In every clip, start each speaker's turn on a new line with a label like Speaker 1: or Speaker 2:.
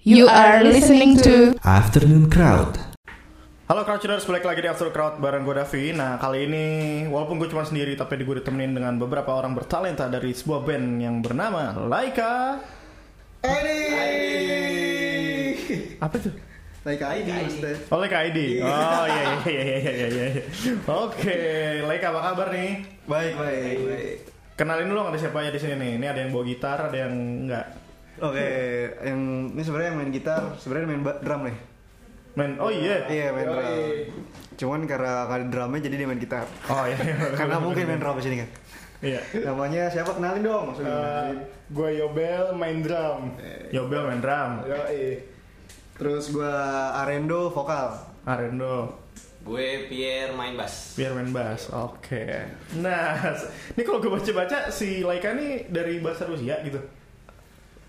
Speaker 1: You are listening to
Speaker 2: Afternoon Crowd.
Speaker 3: Halo Crouchers, balik lagi di After Crowd bareng gue Davi Nah kali ini walaupun gue cuma sendiri tapi gue ditemenin dengan beberapa orang bertalenta dari sebuah band yang bernama Laika Edi Apa tuh?
Speaker 4: Naik ID maksudnya
Speaker 3: Oh Laika ID Oh iya iya iya iya iya iya. Oke Laika apa kabar nih?
Speaker 4: Baik, baik, baik
Speaker 3: Kenalin dulu ada siapa aja di sini nih Ini ada yang bawa gitar ada yang enggak
Speaker 4: Oke, yang ini sebenarnya yang main gitar, sebenarnya main ba- drum nih.
Speaker 3: Men, oh iya
Speaker 4: Iya, main drum. Cuman karena ada drumnya jadi dia main gitar.
Speaker 3: Oh iya iya.
Speaker 4: Karena mungkin main drum di sini kan.
Speaker 3: Iya
Speaker 4: Namanya siapa kenalin dong maksudnya. kenalin.
Speaker 3: Eh,
Speaker 5: gue Yobel main drum. Iya.
Speaker 3: Yobel main drum
Speaker 5: Yoi.
Speaker 4: Terus gua Arendo vokal.
Speaker 3: Ah, Arendo
Speaker 6: Gue Pierre main bass.
Speaker 3: biar main bass oke nah s- ini kalau gue baca-baca si Laika nih dari bahasa Rusia gitu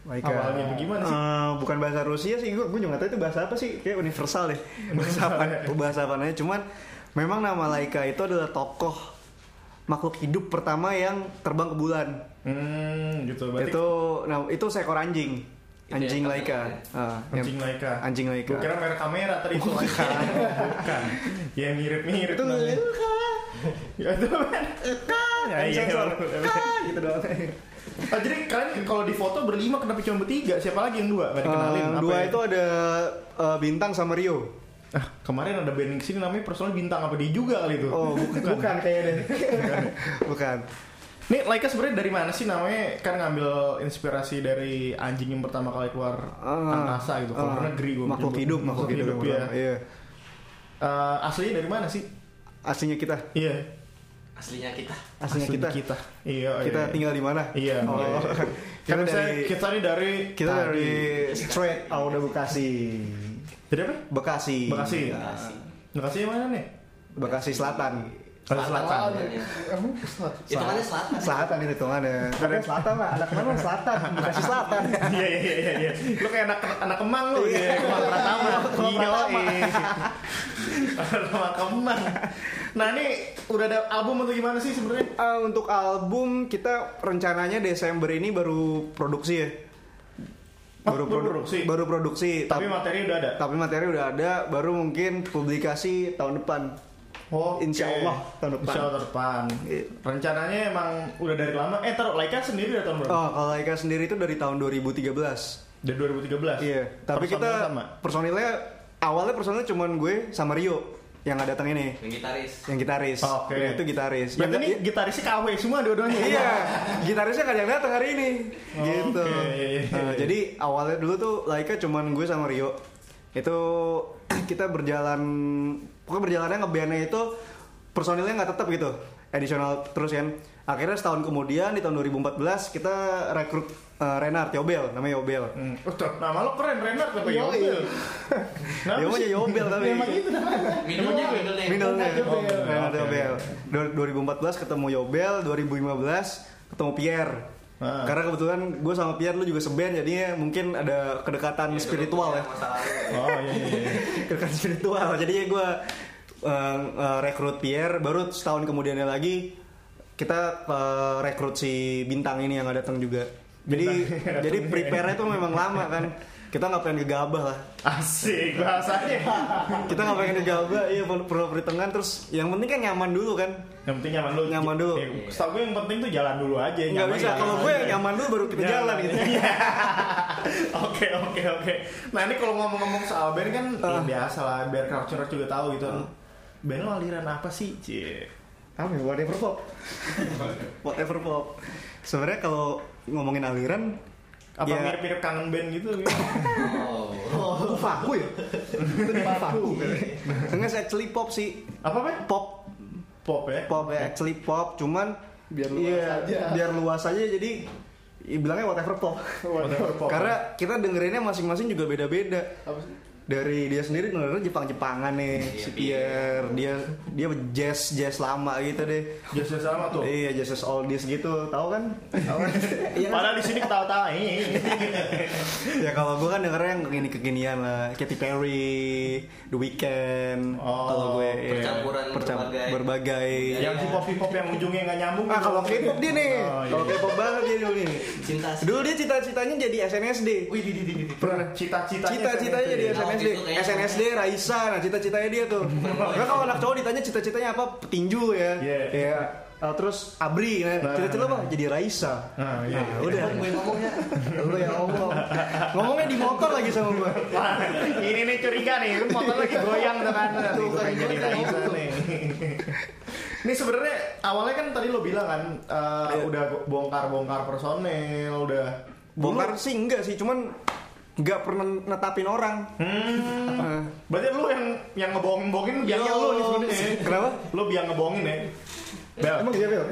Speaker 4: Baik.
Speaker 3: awalnya gimana sih
Speaker 4: Eh, bukan bahasa Rusia sih, gue juga nggak tahu itu bahasa apa sih, kayak universal deh bahasa apa,
Speaker 3: ya.
Speaker 4: bahasa apa namanya. Cuman memang nama Laika itu adalah tokoh makhluk hidup pertama yang terbang ke bulan.
Speaker 3: hmm gitu berarti Iya,
Speaker 4: itu nah, itu seekor anjing,
Speaker 6: Itu
Speaker 4: anjing
Speaker 6: yang
Speaker 4: Laika. Ah, yang-
Speaker 3: anjing Laika
Speaker 4: Anjing Laika.
Speaker 3: gue kira merek kamera tadi itu bukan bukan ya mirip-mirip
Speaker 4: Itu
Speaker 3: namanya. ya itu kan ya
Speaker 4: Yang
Speaker 3: iya
Speaker 4: sensor. Ah, gitu doang.
Speaker 3: Oh, jadi kalian kalau di foto berlima kenapa cuma bertiga siapa lagi yang dua nggak
Speaker 4: Eh,
Speaker 3: dikenalin
Speaker 4: yang
Speaker 3: Apa
Speaker 4: dua
Speaker 3: ya?
Speaker 4: itu ada eh, bintang sama Rio.
Speaker 3: ah, kemarin ada band sini namanya personal bintang apa dia juga kali itu
Speaker 4: Oh, bukan, bukan kayaknya. bukan.
Speaker 3: Nih Laika sebenarnya dari mana sih namanya? Kan ngambil inspirasi dari anjing yang pertama kali keluar
Speaker 4: Ah,
Speaker 3: angkasa gitu, keluar
Speaker 4: ah,
Speaker 3: negeri gue
Speaker 4: Makhluk hidup, makhluk hidup. yang
Speaker 3: ya.
Speaker 4: pertama. Iya.
Speaker 3: Eh, aslinya dari mana sih?
Speaker 4: Aslinya kita.
Speaker 3: Iya.
Speaker 6: Aslinya kita.
Speaker 4: Aslinya
Speaker 3: asli
Speaker 4: kita.
Speaker 3: kita. Iya.
Speaker 4: Kita
Speaker 3: iya.
Speaker 4: tinggal di mana?
Speaker 3: Iya.
Speaker 4: Oh.
Speaker 3: iya. Kan
Speaker 4: Kita
Speaker 3: misalnya
Speaker 4: dari
Speaker 3: kita nih dari
Speaker 4: kita dari straight out of Bekasi.
Speaker 3: dari apa? ya,
Speaker 4: Bekasi.
Speaker 3: Bekasi.
Speaker 4: Ya.
Speaker 3: Bekasi yang mana nih?
Speaker 4: Bekasi Selatan.
Speaker 3: Bekasi Selatan.
Speaker 6: Itu kan selatan.
Speaker 4: Selatan itu hitungannya. Tapi Selatan lah, anak mana Selatan? Bekasi Selatan.
Speaker 3: Iya iya iya iya. Lu kayak anak anak kemang lu,
Speaker 4: Iya.
Speaker 3: iya. Kemang Pratama.
Speaker 4: Kemang
Speaker 3: Iya,
Speaker 4: Pratama.
Speaker 3: iya. Anak kemang. Nah ini udah ada album atau gimana sih sebenarnya?
Speaker 4: Eh, untuk album kita rencananya Desember ini baru produksi ya.
Speaker 3: Ah, baru
Speaker 4: produ-
Speaker 3: produksi?
Speaker 4: Oh, Baru produksi.
Speaker 3: Tapi
Speaker 4: Tap-
Speaker 3: materi udah ada.
Speaker 4: tapi materi udah ada, baru mungkin publikasi tahun depan.
Speaker 3: Oh,
Speaker 4: Insya Allah tahun depan.
Speaker 3: Insya Allah tahun depan.
Speaker 4: Iya.
Speaker 3: Rencananya emang udah dari lama. Eh, taruh Laika sendiri dari tahun berapa?
Speaker 4: Oh, kalau Laika sendiri itu dari tahun 2013.
Speaker 3: Dari 2013.
Speaker 4: Iya, tapi
Speaker 3: Personil
Speaker 4: kita
Speaker 3: sama.
Speaker 4: personilnya awalnya personilnya cuman gue sama Rio yang nggak datang ini,
Speaker 6: Yang gitaris.
Speaker 4: yang gitaris.
Speaker 3: Oh, Oke.
Speaker 4: Iya, Itu gitaris. Yang
Speaker 3: Berarti ini
Speaker 4: nggak-
Speaker 3: gitarisnya KW semua dua-duanya.
Speaker 4: Iya, gitarisnya nggak ada yang datang hari ini.
Speaker 3: Oh,
Speaker 4: gitu.
Speaker 3: oke, iya, iya,
Speaker 4: Nah,
Speaker 3: iya.
Speaker 4: jadi awalnya dulu tuh Laika cuman gue sama Rio. Itu kita berjalan pokoknya berjalannya ngebandnya itu personilnya nggak tetap gitu. Additional terus kan. Akhirnya setahun kemudian di tahun 2014 kita rekrut eh, Renard Yobel, namanya Yobel.
Speaker 3: Hmm. Oh, tuh, nama lo keren, Renard apa
Speaker 5: Iya,
Speaker 3: Yobel?
Speaker 5: iya.
Speaker 3: Kenapa
Speaker 4: Dia maunya
Speaker 3: sih?
Speaker 4: Yobel ya tapi.
Speaker 5: Emang gitu namanya.
Speaker 6: Minumnya middle name.
Speaker 4: Middle name.
Speaker 5: Renard Yobel.
Speaker 4: Renard
Speaker 3: Oke,
Speaker 4: Yobel. Dua- 2014 ketemu Yobel, 2015 ketemu Pierre.
Speaker 3: Ah.
Speaker 4: Karena kebetulan gue sama Pierre lu juga seband jadinya mungkin ada
Speaker 3: Iya,
Speaker 4: kedekatan spiritual ya.
Speaker 6: Masa lalu.
Speaker 3: Oh, iya iya. iya.
Speaker 4: kedekatan spiritual. Jadinya gue eh, rekrut Pierre baru setahun kemudiannya lagi kita eh, rekrut si bintang ini yang nggak datang juga. Jadi jadi prepare-nya tuh memang lama kan. Kita nggak pengen gegabah lah
Speaker 3: Asik bahasanya.
Speaker 4: kita nggak pengen gegabah iya perlu perlu perhitungan terus yang penting kan nyaman dulu kan
Speaker 3: yang penting nyaman dulu.
Speaker 4: Nyaman dulu.
Speaker 3: Iya, Setahu gue yang penting tuh jalan dulu aja.
Speaker 4: nggak
Speaker 3: nyaman,
Speaker 4: bisa
Speaker 3: jalan
Speaker 4: kalau gue
Speaker 3: aja.
Speaker 4: yang nyaman ya. dulu baru kita jalan gitu
Speaker 3: Iya. Oke oke oke. Nah ini kalau ngomong-ngomong soal band kan ya
Speaker 4: Ah.
Speaker 3: biasa lah, biar culture juga tahu gitu. Band lo aliran apa sih, Cie?
Speaker 4: apa ya, whatever pop whatever pop sebenarnya kalau ngomongin aliran
Speaker 3: Apa
Speaker 4: ya,
Speaker 3: mirip-mirip kangen band gitu?
Speaker 6: Oh.
Speaker 4: oh, faku ya itu di faku enggak sih, actually pop sih
Speaker 3: apa apa?
Speaker 4: pop
Speaker 3: Pop ya?
Speaker 4: pop ya, actually pop cuman
Speaker 5: Biar luas
Speaker 4: iya,
Speaker 5: aja.
Speaker 4: biar luas aja jadi ya, bilangnya whatever pop
Speaker 3: Whatever pop.
Speaker 4: karena kita dengerinnya masing-masing juga beda-beda
Speaker 5: Apa sih?
Speaker 4: dari dia sendiri sebenarnya Jepang-Jepangan nih
Speaker 6: Iya,
Speaker 4: si Pierre dia dia jazz jazz lama gitu deh
Speaker 3: Biasa sama tuh.
Speaker 4: iya jazz jazz oldies gitu tahu kan Iya kan? Iya,
Speaker 3: Padahal di sini ketawa-tawa ini.
Speaker 4: ya kalau gue kan dengernya yang kekini kekinian lah Katy Perry The Weeknd
Speaker 3: Oh,
Speaker 4: kalau gue iya.
Speaker 6: percampuran berbagai. Iya.
Speaker 4: berbagai
Speaker 3: yang hip-hop hip-hop yang ujungnya nggak nyambung.
Speaker 4: iya. ah kalau K-pop dia nih
Speaker 3: Oh, iya.
Speaker 4: kalau K-pop banget dia dulu nih
Speaker 6: Cinta sih.
Speaker 4: dulu dia cita-citanya jadi SNSD
Speaker 3: Wih, di, di, di, di. Cita-citanya.
Speaker 4: cita-citanya jadi SNSD
Speaker 6: Oh, itu kayaknya.
Speaker 4: SNSD Raisa nah cita-citanya dia tuh Karena kalau anak cowok ditanya cita-citanya apa petinju ya
Speaker 3: Iya.
Speaker 4: Iya. Eh, terus Abri ya.
Speaker 3: Nah.
Speaker 4: cita-cita lo apa jadi Raisa
Speaker 3: Nah, iya, iya.
Speaker 4: Ya, udah
Speaker 6: Gue ngomongnya.
Speaker 4: lu yang ngomong ngomongnya di motor lagi sama gua
Speaker 3: Wah, ini nih curiga nih, motor lagi goyang dengan
Speaker 4: Tuh, kan,
Speaker 3: pengen jadi
Speaker 4: kan,
Speaker 3: Raisa nih. Ini sebenarnya awalnya kan tadi lo bilang kan eh,
Speaker 4: Iya.
Speaker 3: udah bongkar-bongkar personel, udah
Speaker 4: bongkar sih enggak sih cuman nggak pernah netapin orang
Speaker 3: Hmm.
Speaker 4: Eh,
Speaker 3: Berarti lu yang yang ngebohongin biangnya lu nih sebenarnya.
Speaker 4: Kenapa?
Speaker 3: Lu biang ngebohongin ya. Bel,
Speaker 5: Emang iya, Bel?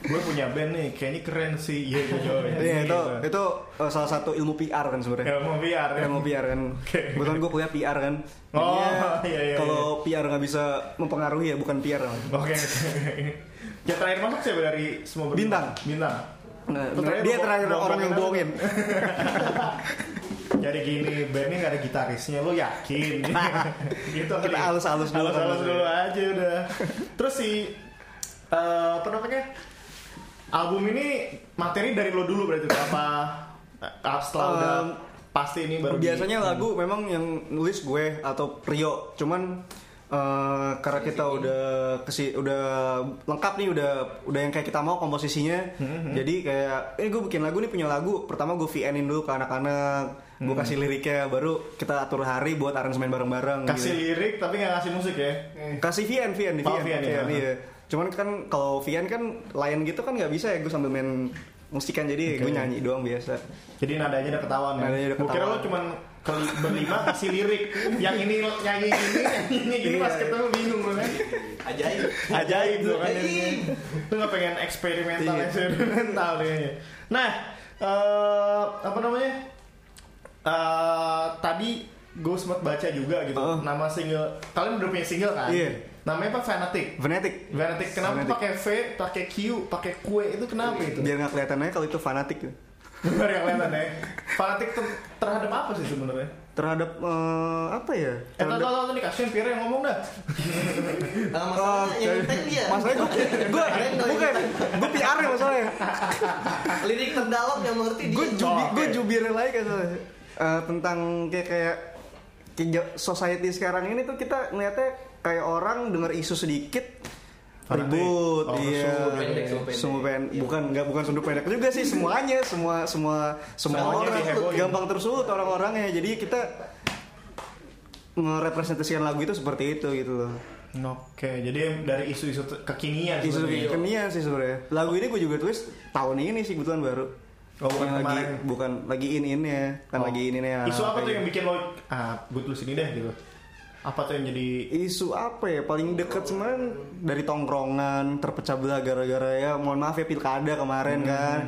Speaker 3: gue punya band nih, kayaknya keren sih. Iya, iya, iya.
Speaker 4: Iya itu itu eh, salah satu ilmu PR kan sebenarnya.
Speaker 3: Ilmu PR, ya.
Speaker 4: Ilmu PR kan. Kebetulan gue kuliah PR kan.
Speaker 3: Oh,
Speaker 4: Jadinya
Speaker 3: iya, iya,
Speaker 4: Kalau PR nggak bisa mempengaruhi ya bukan PR. kan.
Speaker 3: Oke. Yang terakhir masuk siapa dari semua band?
Speaker 4: Bintang.
Speaker 3: Bintang.
Speaker 4: Nah,
Speaker 3: Lu terakhir
Speaker 4: dia
Speaker 3: bohong-
Speaker 4: terakhir
Speaker 3: bohong-
Speaker 4: orang yang bohongin.
Speaker 3: Jadi gini, bandnya nggak ada gitarisnya, lu yakin? gitu
Speaker 4: Kita
Speaker 3: nih.
Speaker 4: alus-alus dulu.
Speaker 3: Alus-alus dulu aja udah. Terus si eh apa namanya? Album ini materi dari lo dulu berarti apa? eh, Setelah udah
Speaker 4: Um,
Speaker 3: pasti ini baru di-
Speaker 4: Biasanya lagu memang yang nulis gue atau Rio. Cuman eh, karena kita udah kesi udah lengkap nih udah udah yang kayak kita mau komposisinya.
Speaker 3: Mm-hmm.
Speaker 4: Jadi kayak eh gue bikin lagu nih punya lagu. Pertama gue VN-in dulu ke anak-anak. Gue
Speaker 3: Mm-hmm.
Speaker 4: kasih liriknya baru kita atur hari buat aransemen bareng-bareng
Speaker 3: kasih
Speaker 4: gitu.
Speaker 3: lirik tapi nggak kasih musik ya?
Speaker 4: Kasih VN VN di
Speaker 3: Oh,
Speaker 4: VN,
Speaker 3: VN, ya.
Speaker 4: iya. Cuman kan kalau VN kan lain gitu kan nggak bisa ya gue sambil main musikan jadi gue nyanyi doang biasa.
Speaker 3: Jadi nadanya udah ketahuan ya.
Speaker 4: Nadanya udah
Speaker 3: Gua kira lo
Speaker 4: ketahuan.
Speaker 3: cuman ke berlima kasih lirik, yang ini nyanyi ini, yang ini gini
Speaker 4: Iya.
Speaker 3: pas ketemu bingung lo kan.
Speaker 6: Ajaib.
Speaker 3: Ajaib tuh kan
Speaker 6: Ajaib.
Speaker 3: jadinya. Lu gak pengen eksperimental
Speaker 4: Iya.
Speaker 3: eksperimental kayaknya. Nah, eh apa namanya? Eh tadi gue sempat baca juga gitu.
Speaker 4: Heeh.
Speaker 3: Nama single kalian udah punya single kan?
Speaker 4: Oh. Iya.
Speaker 3: Namanya apa Fanatic.
Speaker 4: Fanatic.
Speaker 3: Fanatic kenapa
Speaker 4: Fanatic.
Speaker 3: pakai V, pakai Q, pakai kue itu kenapa itu?
Speaker 4: Biar nggak kelihatan aja kalau itu fanatik. gitu.
Speaker 3: Biar yang kelihatan ya. Fanatic ter- terhadap apa sih sebenarnya?
Speaker 4: terhadap eh, apa ya?
Speaker 3: Eh, tahu
Speaker 4: Terhadap-
Speaker 3: tahu tahu nih kasihan Pierre yang ngomong dah.
Speaker 6: Nah, masalahnya yang ngetek dia.
Speaker 4: Masalahnya gue, gue
Speaker 6: Ada yang ngetek.
Speaker 4: bukan, gue PR ya masalahnya.
Speaker 6: Lirik terdalam yang mengerti dia.
Speaker 4: Gue jubi,
Speaker 3: oke.
Speaker 4: gue jubirnya lagi kan soalnya. Eh, tentang kayak kayak kayak society sekarang ini tuh kita ngeliatnya kayak orang denger isu sedikit
Speaker 3: Fanatik.
Speaker 4: ribut,
Speaker 3: Oh,
Speaker 4: iya,
Speaker 6: sumbu pendek, sumbu pendek.
Speaker 4: Sumbu pendek. bukan nggak bukan sumbu pendek juga sih semuanya, semua semua semua
Speaker 3: Semuanya
Speaker 4: orang tuh
Speaker 3: dihebohin.
Speaker 4: gampang tersulut orang-orangnya, jadi kita merepresentasikan lagu itu seperti itu gitu loh.
Speaker 3: Oke, jadi dari isu-isu te- kekinian
Speaker 4: Isu
Speaker 3: sebenarnya.
Speaker 4: kekinian sih sebenarnya. Lagu ini gue juga tulis tahun ini sih kebetulan baru.
Speaker 3: Oh, bukan
Speaker 4: Yang lagi,
Speaker 3: kemarin.
Speaker 4: bukan lagi in in ya, kan
Speaker 3: Oh.
Speaker 4: lagi in in ya.
Speaker 3: Isu apa tuh yang bikin lo ah gue tulis ini deh gitu. Apa tuh yang jadi
Speaker 4: Isu apa ya paling deket sebenarnya dari tongkrongan terpecah belah gara-gara ya mohon maaf ya pilkada kemarin
Speaker 3: Hmm.
Speaker 4: kan.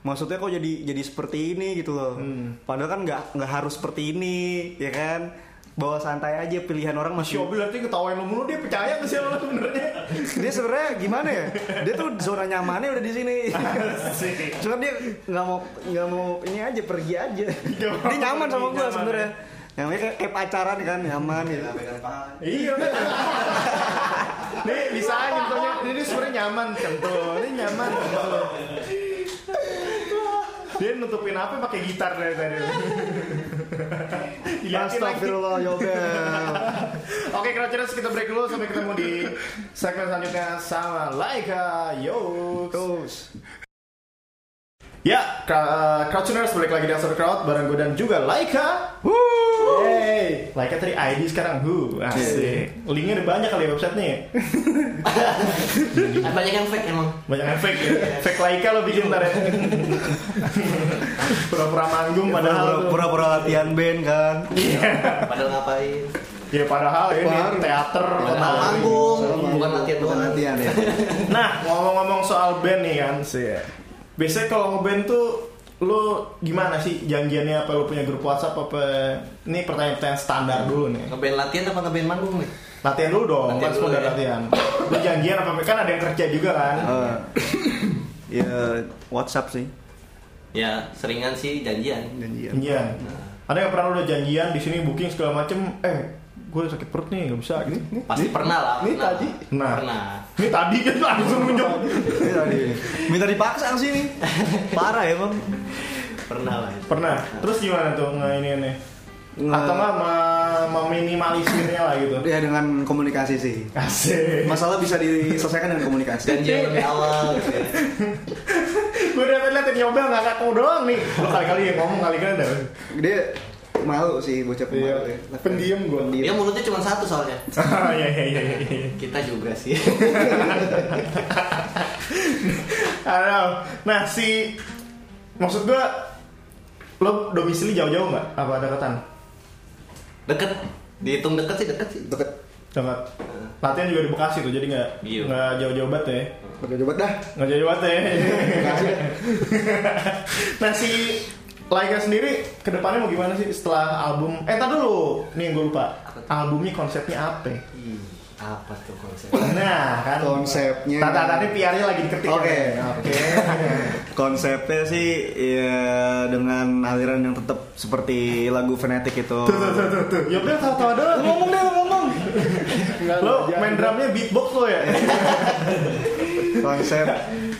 Speaker 4: Maksudnya kok jadi jadi seperti ini gitu loh.
Speaker 3: Hmm.
Speaker 4: Padahal kan nggak nggak harus seperti ini ya kan. Bawa santai aja pilihan orang
Speaker 3: Si
Speaker 4: masih.
Speaker 3: Obi berarti ketawain lo mulu dia percaya ke sih lo sebenarnya.
Speaker 4: Dia sebenarnya gimana ya? Dia tuh zona nyamannya udah di sini.
Speaker 3: Sih.
Speaker 4: Cuma dia nggak mau nggak mau ini aja pergi aja. dia nyaman sama gue
Speaker 3: Nyaman,
Speaker 4: sebenarnya. Nyamannya kayak, kayak pacaran kan nyaman gitu.
Speaker 6: Pegang tangan.
Speaker 3: Iya. bener. Nih bisa nyentuhnya. Ini dia sebenarnya nyaman kentul. Ini nyaman kentul. Dia nutupin apa pakai gitar dari tadi. Dilihatin lagi.
Speaker 4: Astagfirullah Yobel.
Speaker 3: Oke, Crouchers kita break dulu sampai ketemu di segmen selanjutnya sama Laika. Yo.
Speaker 4: Terus.
Speaker 3: Ya, Cra- uh, Crouchers balik lagi di Astro Crowd bareng gue dan juga Laika. Hey, Laika tadi ID sekarang who asik. Linknya ada banyak kali ya websitenya. ya?
Speaker 6: Banyak yang fake emang.
Speaker 3: Banyak yang fake ya. Fake Laika lo bikin ntar ya. Pura-pura manggung
Speaker 6: Ya,
Speaker 3: padahal.
Speaker 4: Padahal
Speaker 3: tuh.
Speaker 4: pura-pura latihan band kan.
Speaker 6: Padahal ngapain?
Speaker 3: Ya padahal ini
Speaker 4: Baru.
Speaker 3: teater.
Speaker 6: Padahal manggung. Bukan latihan
Speaker 4: Bukan
Speaker 6: doang.
Speaker 4: latihan ya.
Speaker 6: ya.
Speaker 3: Nah, ngomong-ngomong soal band nih kan sih. Biasanya kalau ngeband tuh lu gimana sih janjiannya apa lu punya grup WhatsApp apa ini pertanyaan-pertanyaan standar dulu nih
Speaker 6: Ngeband latihan apa ngeband manggung nih?
Speaker 3: latihan dulu dong
Speaker 6: Latihan
Speaker 3: kan
Speaker 6: dulu
Speaker 3: semua udah
Speaker 6: ya. Oh,
Speaker 3: latihan lu janjian apa kan ada yang kerja juga kan
Speaker 4: Eh, ya WhatsApp sih
Speaker 6: Ya seringan sih janjian.
Speaker 4: janjian.
Speaker 3: janjian ada yang pernah lu udah janjian di sini booking segala macem eh gue sakit perut nih nggak bisa gitu
Speaker 6: Pasti pernah lah.
Speaker 5: ini
Speaker 6: pernah.
Speaker 5: tadi?
Speaker 3: Nah.
Speaker 6: Pernah.
Speaker 3: ini tadi kan langsung nunjuk
Speaker 4: Ini tadi. Minta dipaksa sih nih. Parah ya, Bang.
Speaker 6: Pernah lah.
Speaker 3: pernah terus gimana tuh nggak ini nih
Speaker 4: Nge-
Speaker 3: atau nggak me- meminimalisirnya lah gitu
Speaker 4: Ya dengan komunikasi sih.
Speaker 3: Asik.
Speaker 4: Masalah bisa diselesaikan dengan komunikasi.
Speaker 6: Janjian lebih awal gitu ya.
Speaker 3: Gue udah liat nyobel nggak ngaku doang nih. Lo kali-kali ya ngomong kali-kali ada.
Speaker 4: Dia malu sih bocah
Speaker 5: Iya,
Speaker 4: pemalu. ya.
Speaker 5: pendiam gua.
Speaker 4: Pendiam.
Speaker 6: Dia mulutnya cuma satu soalnya.
Speaker 3: Iya iya iya. iya.
Speaker 6: Kita juga sih.
Speaker 3: Aduh. Nah si maksud gue lo domisili jauh-jauh nggak? Apa deketan?
Speaker 6: Deket. Dihitung deket sih deket sih.
Speaker 4: Deket.
Speaker 3: Dekat. Latihan juga di Bekasi tuh jadi nggak
Speaker 6: Iya.
Speaker 3: nggak jauh-jauh banget ya.
Speaker 4: Pakai jabat dah.
Speaker 3: Nggak jauh banget ya. nah si Laika sendiri kedepannya mau gimana sih setelah album? Eh, tar dulu. Nih gue lupa. Albumnya konsepnya apa?
Speaker 6: Ih, Apa tuh konsep?
Speaker 3: Nah, kan
Speaker 4: Konsepnya.
Speaker 3: Tata tadi PR-nya lagi diketik.
Speaker 4: Oke.
Speaker 3: ya. Oke.
Speaker 4: Konsepnya sih ya dengan aliran yang tetap seperti lagu fanatik itu.
Speaker 3: Tuh tuh tuh tuh. tuh. Yobel tahu-tahu doang. Ngomong deh, ngomong. Lo main drumnya beatbox lo ya.
Speaker 4: Konsep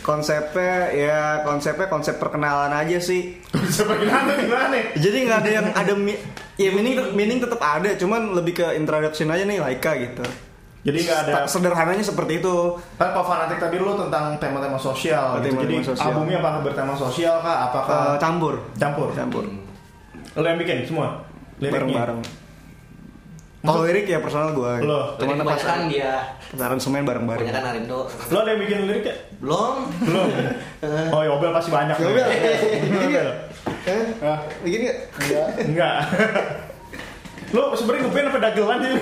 Speaker 4: konsepnya ya konsepnya konsep perkenalan aja sih.
Speaker 3: Seperti nanti gimana nih?
Speaker 4: Jadi nggak ada yang ada mi- ya meaning meaning tetap ada, cuman lebih ke introduction aja nih Laika gitu.
Speaker 3: Jadi nggak ada
Speaker 4: Sta- sederhananya seperti itu.
Speaker 3: kan kalau fanatik tadi lo tentang tema-tema sosial. Gitu.
Speaker 4: Tema-tema
Speaker 3: Jadi
Speaker 4: sosial.
Speaker 3: albumnya apakah bertema sosial kah? Apakah
Speaker 4: Eh, campur,
Speaker 3: campur? Hmm.
Speaker 4: campur.
Speaker 3: Lo yang bikin semua.
Speaker 4: Bareng-bareng. Kalau lirik ya personal gua.
Speaker 3: Lo.
Speaker 6: Cuman
Speaker 4: Cuman pas
Speaker 6: kebanyakan dia.
Speaker 4: pas aransemen bareng-bareng.
Speaker 6: Kebanyakan Arindo.
Speaker 3: Lo ada yang bikin liriknya?
Speaker 6: Belum.
Speaker 3: Belum.
Speaker 4: Eh.
Speaker 3: Oh, Yobel pasti banyak.
Speaker 4: Ya
Speaker 5: Yobel.
Speaker 3: Yobel.
Speaker 5: Eh,
Speaker 4: Ah, Begini nggak?
Speaker 5: enggak.
Speaker 3: Enggak. Lo sebenarnya ngeband apa dagelan sih?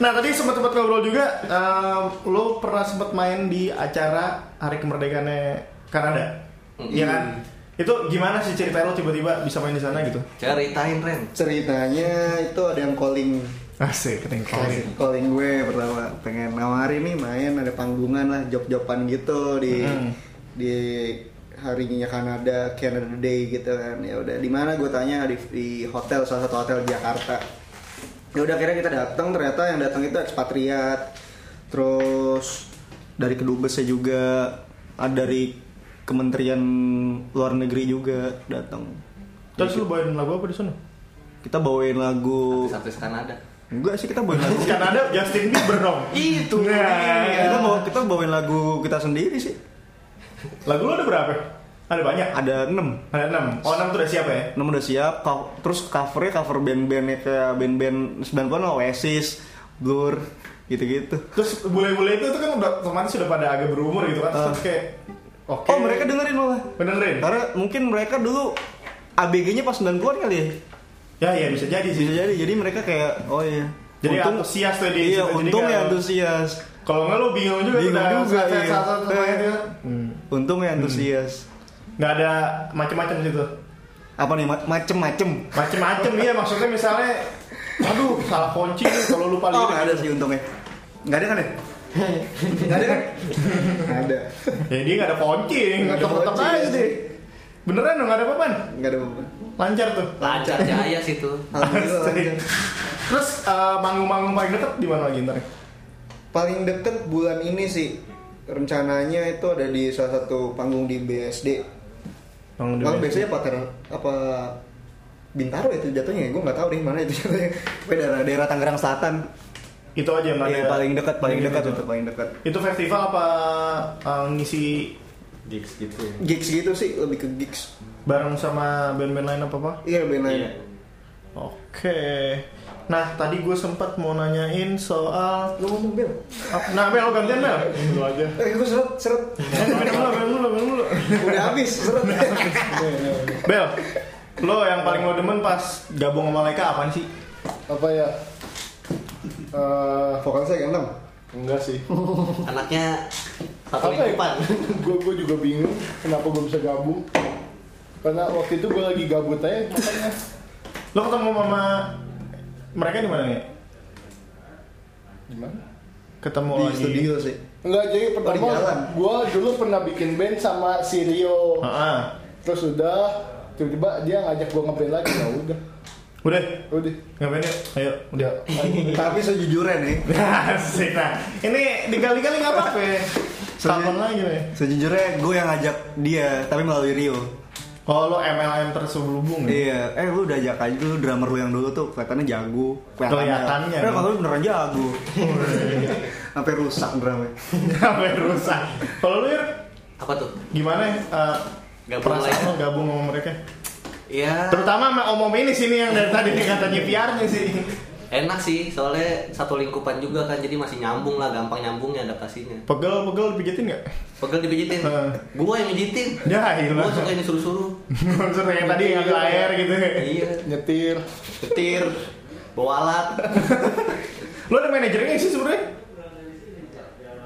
Speaker 3: nah tadi sempat sempat ngobrol juga, em, lo pernah sempat main di acara Hari Kemerdekaannya Kanada, iya kan? Itu gimana sih cerita lo tiba-tiba bisa main di sana gitu?
Speaker 6: Ceritain Ren.
Speaker 5: Ceritanya itu ada yang calling
Speaker 3: Asik, keting
Speaker 5: calling,
Speaker 4: gue pertama pengen nawarin nih main ada panggungan lah job-joban gitu di
Speaker 3: Mm.
Speaker 4: di harinya Kanada Canada Day gitu kan ya udah di mana gue tanya di, di hotel salah satu hotel di Jakarta ya udah akhirnya kita datang ternyata yang datang itu ekspatriat terus dari kedubesnya juga ada dari Kementerian Luar Negeri juga datang
Speaker 3: Terus lo bawain lagu apa di sana?
Speaker 4: kita bawain lagu
Speaker 6: Satu Kanada.
Speaker 4: enggak sih kita bawain lagu
Speaker 3: Kanada Justin Bieber dong.
Speaker 6: Itu.
Speaker 3: Nah.
Speaker 4: kita bawa kita bawain lagu kita sendiri sih
Speaker 3: Lagu lo ada berapa? Ada banyak.
Speaker 4: ada 6
Speaker 3: Ada enam. Oh enam tuh udah siap ya?
Speaker 4: 6 udah siap co- terus covernya cover band-bandnya kayak band-band 90-an lah, Oasis Blur gitu-gitu
Speaker 3: Terus bule-bule itu, tuh kan udah otomatis sudah pada agak berumur gitu kan? Terus
Speaker 4: Ah.
Speaker 3: kayak, oke.
Speaker 4: oh mereka dengerin malah
Speaker 3: benerin?
Speaker 4: karena mungkin mereka dulu ABG-nya pas 90-an kali ya
Speaker 3: Ya ya bisa jadi sih.
Speaker 4: bisa jadi jadi mereka kayak oh iya
Speaker 3: Jadi antusias tuh dia di situ,
Speaker 4: iya
Speaker 3: jadi
Speaker 4: untung
Speaker 3: nggak-
Speaker 4: ya antusias
Speaker 3: Kalau nggak lu bingung juga
Speaker 4: Bingung
Speaker 3: tuh,
Speaker 4: juga,
Speaker 3: saat-
Speaker 4: iya.
Speaker 3: saat- saat- saat-
Speaker 4: Eh.
Speaker 3: saat- Hmm.
Speaker 4: untung ya antusias
Speaker 3: nggak ada macem-macem situ.
Speaker 4: apa nih ma- macem-macem
Speaker 3: Macem-macem iya maksudnya misalnya, aduh salah kunci nih kalau lupa
Speaker 4: oh
Speaker 3: lirik.
Speaker 4: nggak ada sih untungnya nggak ada kan ya nggak ada kan
Speaker 5: ada
Speaker 3: Ya dia nggak ada kunci, nggak
Speaker 5: ada
Speaker 3: tetep
Speaker 5: kunci.
Speaker 4: iya.
Speaker 3: aja deh. Beneran dong nggak ada apa-apaan,
Speaker 5: nggak ada beban
Speaker 3: lancar tuh.
Speaker 6: Lancar jaya situ.
Speaker 5: Alhamdulillah,
Speaker 3: Asik.
Speaker 5: lancar.
Speaker 3: Terus eh, manggung-manggung paling deket di mana lagi ntar? ya?
Speaker 5: paling deket bulan ini sih rencananya itu ada di salah satu panggung di BSD
Speaker 3: Manggung di
Speaker 5: Emang
Speaker 3: BSD.
Speaker 5: biasanya apa ter- apa Bintaro itu jatuhnya ya? Gue nggak tahu deh mana itu jatuhnya Oh,
Speaker 4: Tapi daerah daerah Tangerang Selatan
Speaker 3: Itu aja yang
Speaker 4: Iya,
Speaker 3: ada.
Speaker 4: paling dekat paling
Speaker 3: Gitu.
Speaker 4: dekat itu paling dekat
Speaker 3: Itu festival apa eh, ngisi
Speaker 6: Gigs gitu ya.
Speaker 5: Gigs gitu sih, lebih ke gigs
Speaker 3: bareng sama band-band lain apa apa?
Speaker 5: Iya lebih lain
Speaker 6: Iya.
Speaker 3: Oke. Nah, tadi gue sempat mau nanyain soal
Speaker 5: Lu ngomong Bel
Speaker 3: Nah, Mel, lo gantian Mel.
Speaker 5: Lu
Speaker 4: Iya.
Speaker 5: aja Eh gue seret, seret
Speaker 3: Eh, minum dulu, minum dulu, minum dulu.
Speaker 5: Udah habis, seret
Speaker 3: Bel, lo yang paling lo demen pas gabung sama Laika apaan sih?
Speaker 5: Apa ya? Eh,
Speaker 4: vokal saya ganteng
Speaker 5: enggak sih
Speaker 6: Anaknya satu
Speaker 5: Apa ya?
Speaker 6: lingkupan.
Speaker 5: Gue gue juga bingung kenapa gue bisa gabung
Speaker 2: karena waktu itu gue lagi gabut aja makanya
Speaker 3: Lo ketemu sama mereka di mana nih?
Speaker 2: gimana
Speaker 3: Ketemu
Speaker 5: di
Speaker 3: lagi.
Speaker 5: studio sih
Speaker 2: Enggak, jadi pertama
Speaker 5: jalan.
Speaker 2: gue dulu pernah bikin band sama si Rio
Speaker 3: Heeh.
Speaker 2: terus udah tiba-tiba dia ngajak gue ngeband lagi ya udah
Speaker 3: Udah,
Speaker 2: udah
Speaker 3: ngapain yuk? Ayo, udah.
Speaker 5: tapi sejujurnya nih
Speaker 3: Asik, nah. Ini dikali-kali nggak apa-apa. Setahun
Speaker 4: Soalnya-
Speaker 3: lagi nih.
Speaker 4: Sejujurnya gue yang ngajak dia, tapi melalui Rio.
Speaker 5: Hmm.
Speaker 3: Oh, lo MLM terselubung ya?
Speaker 4: Iya, eh lu udah ajak aja dulu drummer lu yang dulu tuh kelihatannya jago.
Speaker 3: Kelihatannya.
Speaker 4: Eh, kalau lu beneran jago.
Speaker 5: Oh, iya.
Speaker 4: Sampai rusak drumnya.
Speaker 3: Sampai rusak. Kalau lo Ir,
Speaker 6: Apa tuh?
Speaker 3: gimana eh,
Speaker 6: Gabung
Speaker 3: perasaan
Speaker 6: lagi.
Speaker 3: lo gabung sama mereka?
Speaker 6: Ya
Speaker 3: Terutama sama Om Om ini sini yang dari tadi katanya PR-nya sih.
Speaker 6: enak sih soalnya satu lingkupan juga kan jadi masih nyambung lah gampang nyambungnya adaptasinya.
Speaker 3: Pegel-pegel dipijitin nggak?
Speaker 6: Pegel dipijitin.
Speaker 3: Heeh.
Speaker 6: Gua yang mijitin.
Speaker 3: Ya,
Speaker 6: Gua
Speaker 3: hilang.
Speaker 6: suka yang disuruh-suruh.
Speaker 3: Maksud kayak tadi ngambil air gitu.
Speaker 6: iya.
Speaker 2: nyetir
Speaker 6: Petir. Bawa alat.
Speaker 3: Lo ada manajernya sih sebenarnya?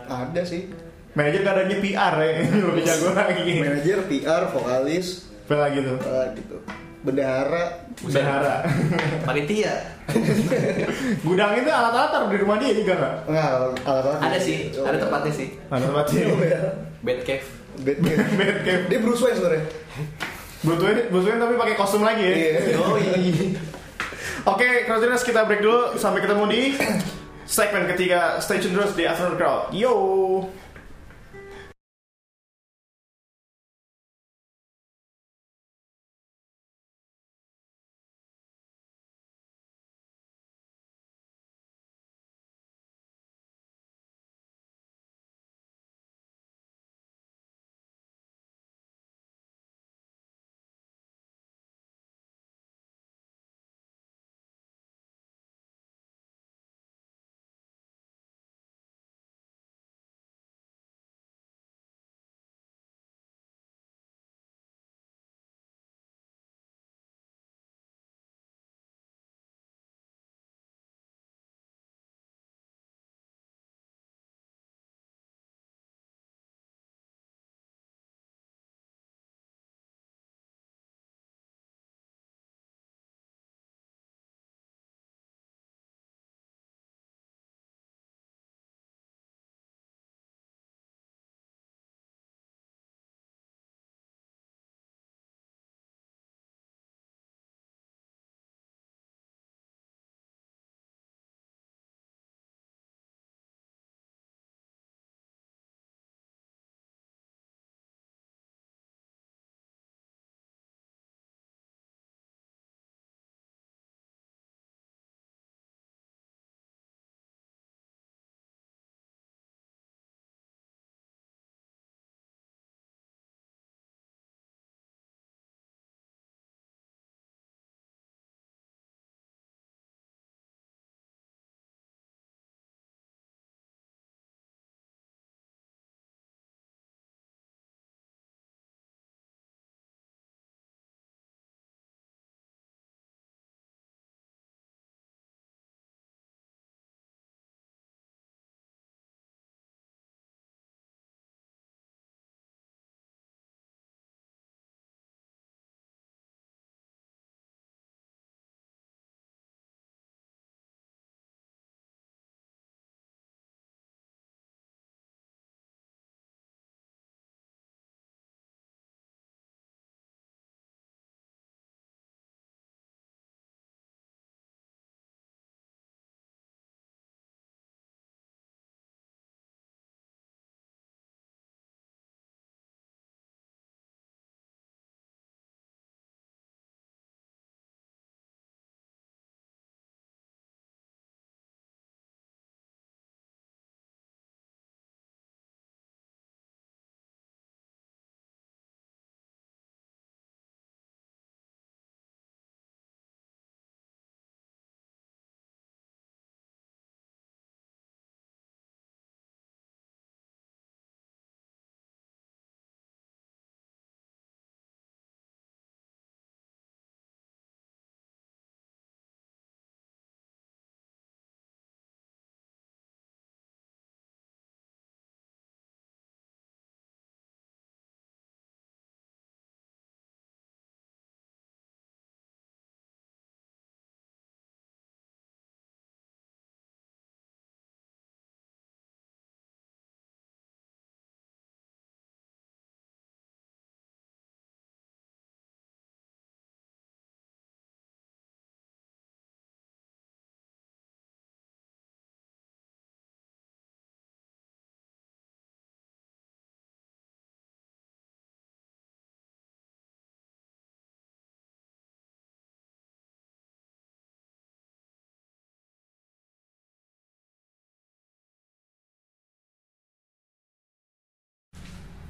Speaker 5: ada sih
Speaker 3: Manajer kadangnya PR ya, lebih jago lagi.
Speaker 5: manajer PR vokalis
Speaker 3: Apa lagi tuh?
Speaker 5: eh, gitu bendahara
Speaker 3: Bendahara.
Speaker 6: Panitia.
Speaker 3: Gudang itu alat-alat taruh di rumah dia juga nggak?
Speaker 5: nggak alat
Speaker 6: Ada sih, ada tempatnya sih.
Speaker 3: Ada tempat sih.
Speaker 6: Band cave.
Speaker 5: Batman
Speaker 3: Bad cave.
Speaker 5: dia Bruce Wayne sebenarnya
Speaker 3: Butuhin, butuhin tapi pakai kostum lagi ya.
Speaker 5: Iya.
Speaker 3: Oke, Crossliners kita break dulu sampai ketemu di segmen ketiga. Stay tune terus di Afternoon Crowd. Yo.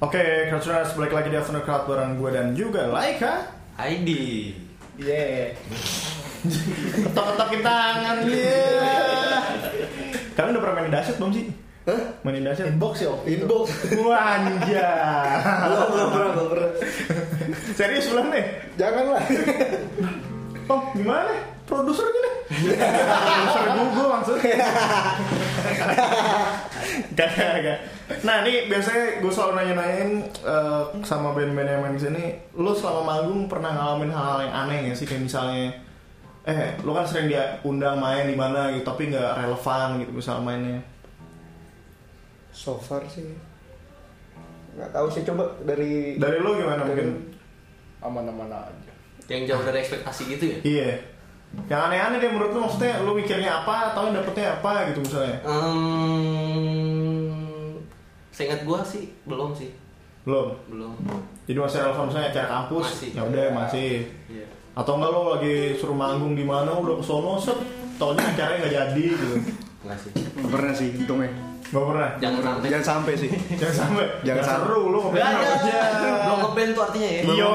Speaker 3: Oke, Crowdtuners balik lagi di Afternoon Crowd bareng gue dan juga Laika.
Speaker 6: ID.
Speaker 2: Yeah.
Speaker 3: Ketok-ketokin tangan dia. Kalian udah pernah main dahsyat belum sih? Hah? Main dahsyat?
Speaker 2: Inbox ya, inbox.
Speaker 3: Wanja.
Speaker 5: Belum, belum pernah, belum pernah.
Speaker 3: Serius belum nih?
Speaker 5: Janganlah.
Speaker 3: Oh, gimana? Produsernya nih? Produser Google maksudnya. Gak, gak, gak. Nah, ini biasanya gue selalu nanya-nanyain eh, sama band-band yang main di sini, lo selama manggung pernah ngalamin hal-hal yang aneh ya sih? Kayak misalnya, eh, lo kan sering dia undang main di mana gitu, tapi nggak relevan gitu misal mainnya.
Speaker 5: So far sih nggak tahu sih coba dari
Speaker 3: Dari lo gimana mungkin?
Speaker 2: Aman-aman aja.
Speaker 6: Yang jauh dari ekspektasi gitu ya.
Speaker 3: Iya. Yang aneh-aneh deh menurut lo maksudnya lo mikirnya apa atau yang dapetnya apa gitu misalnya?
Speaker 6: Um, seingat gua sih belum sih,
Speaker 3: Belum.
Speaker 6: belum.
Speaker 3: Jadi masih relevan misalnya acara kampus,
Speaker 6: Masih.
Speaker 3: ya udah masih.
Speaker 6: Iya.
Speaker 3: Atau enggak lo lagi suruh manggung di mana udah kesono set, taunya acaranya nggak jadi gitu.
Speaker 6: Enggak sih.
Speaker 4: Nggak pernah sih untungnya
Speaker 3: Gak pernah.
Speaker 6: Jangan sampai.
Speaker 4: jangan sampai sih
Speaker 3: Jangan sampai.
Speaker 4: Jangan
Speaker 3: Nggak
Speaker 4: sampai.
Speaker 3: seru lo
Speaker 6: Gak
Speaker 3: ngapain
Speaker 6: ada.
Speaker 3: aja.
Speaker 6: Belum ngeband tuh artinya ya.
Speaker 3: Iya.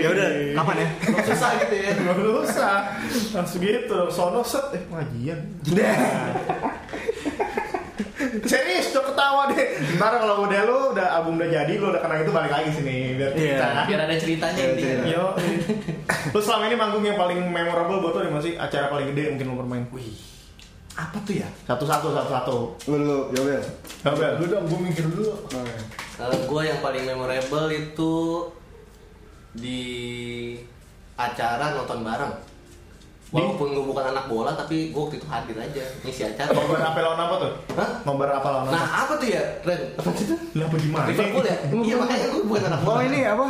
Speaker 4: ya udah kapan ya
Speaker 6: Belum Susah gitu ya.
Speaker 3: Gak usah. Langsung gitu. Sono set eh pengajian. Serius, udah ketawa deh. Ntar kalau udah lo udah album udah jadi, lo udah kenal itu balik lagi sini biar
Speaker 4: Iya.
Speaker 3: cerita.
Speaker 6: Biar ada ceritanya ya.
Speaker 4: Iya,
Speaker 6: intinya.
Speaker 4: cerita.
Speaker 3: Yo. Lo selama ini manggung yang paling memorable buat lo ada masih acara paling gede mungkin lo bermain.
Speaker 6: Wih. Apa tuh ya?
Speaker 3: Satu-satu, satu-satu.
Speaker 5: lu dulu
Speaker 4: Ya
Speaker 5: Yobel.
Speaker 3: Gabel.
Speaker 2: Lu dong, gue mikir dulu.
Speaker 6: Kalau gue Eh, yang paling memorable itu di acara nonton bareng. Walaupun gue bukan anak bola, tapi gue waktu itu hadir aja ngisi acara.
Speaker 3: Nobar apa lawan apa tuh?
Speaker 6: Hah?
Speaker 3: Nobar apa lawan
Speaker 6: Nah
Speaker 3: apa?
Speaker 6: apa tuh ya, Ren? Apa itu?
Speaker 3: Lah bagaimana?
Speaker 6: Liverpool ya? Iya makanya gue bukan anak bola.
Speaker 4: oh ini apa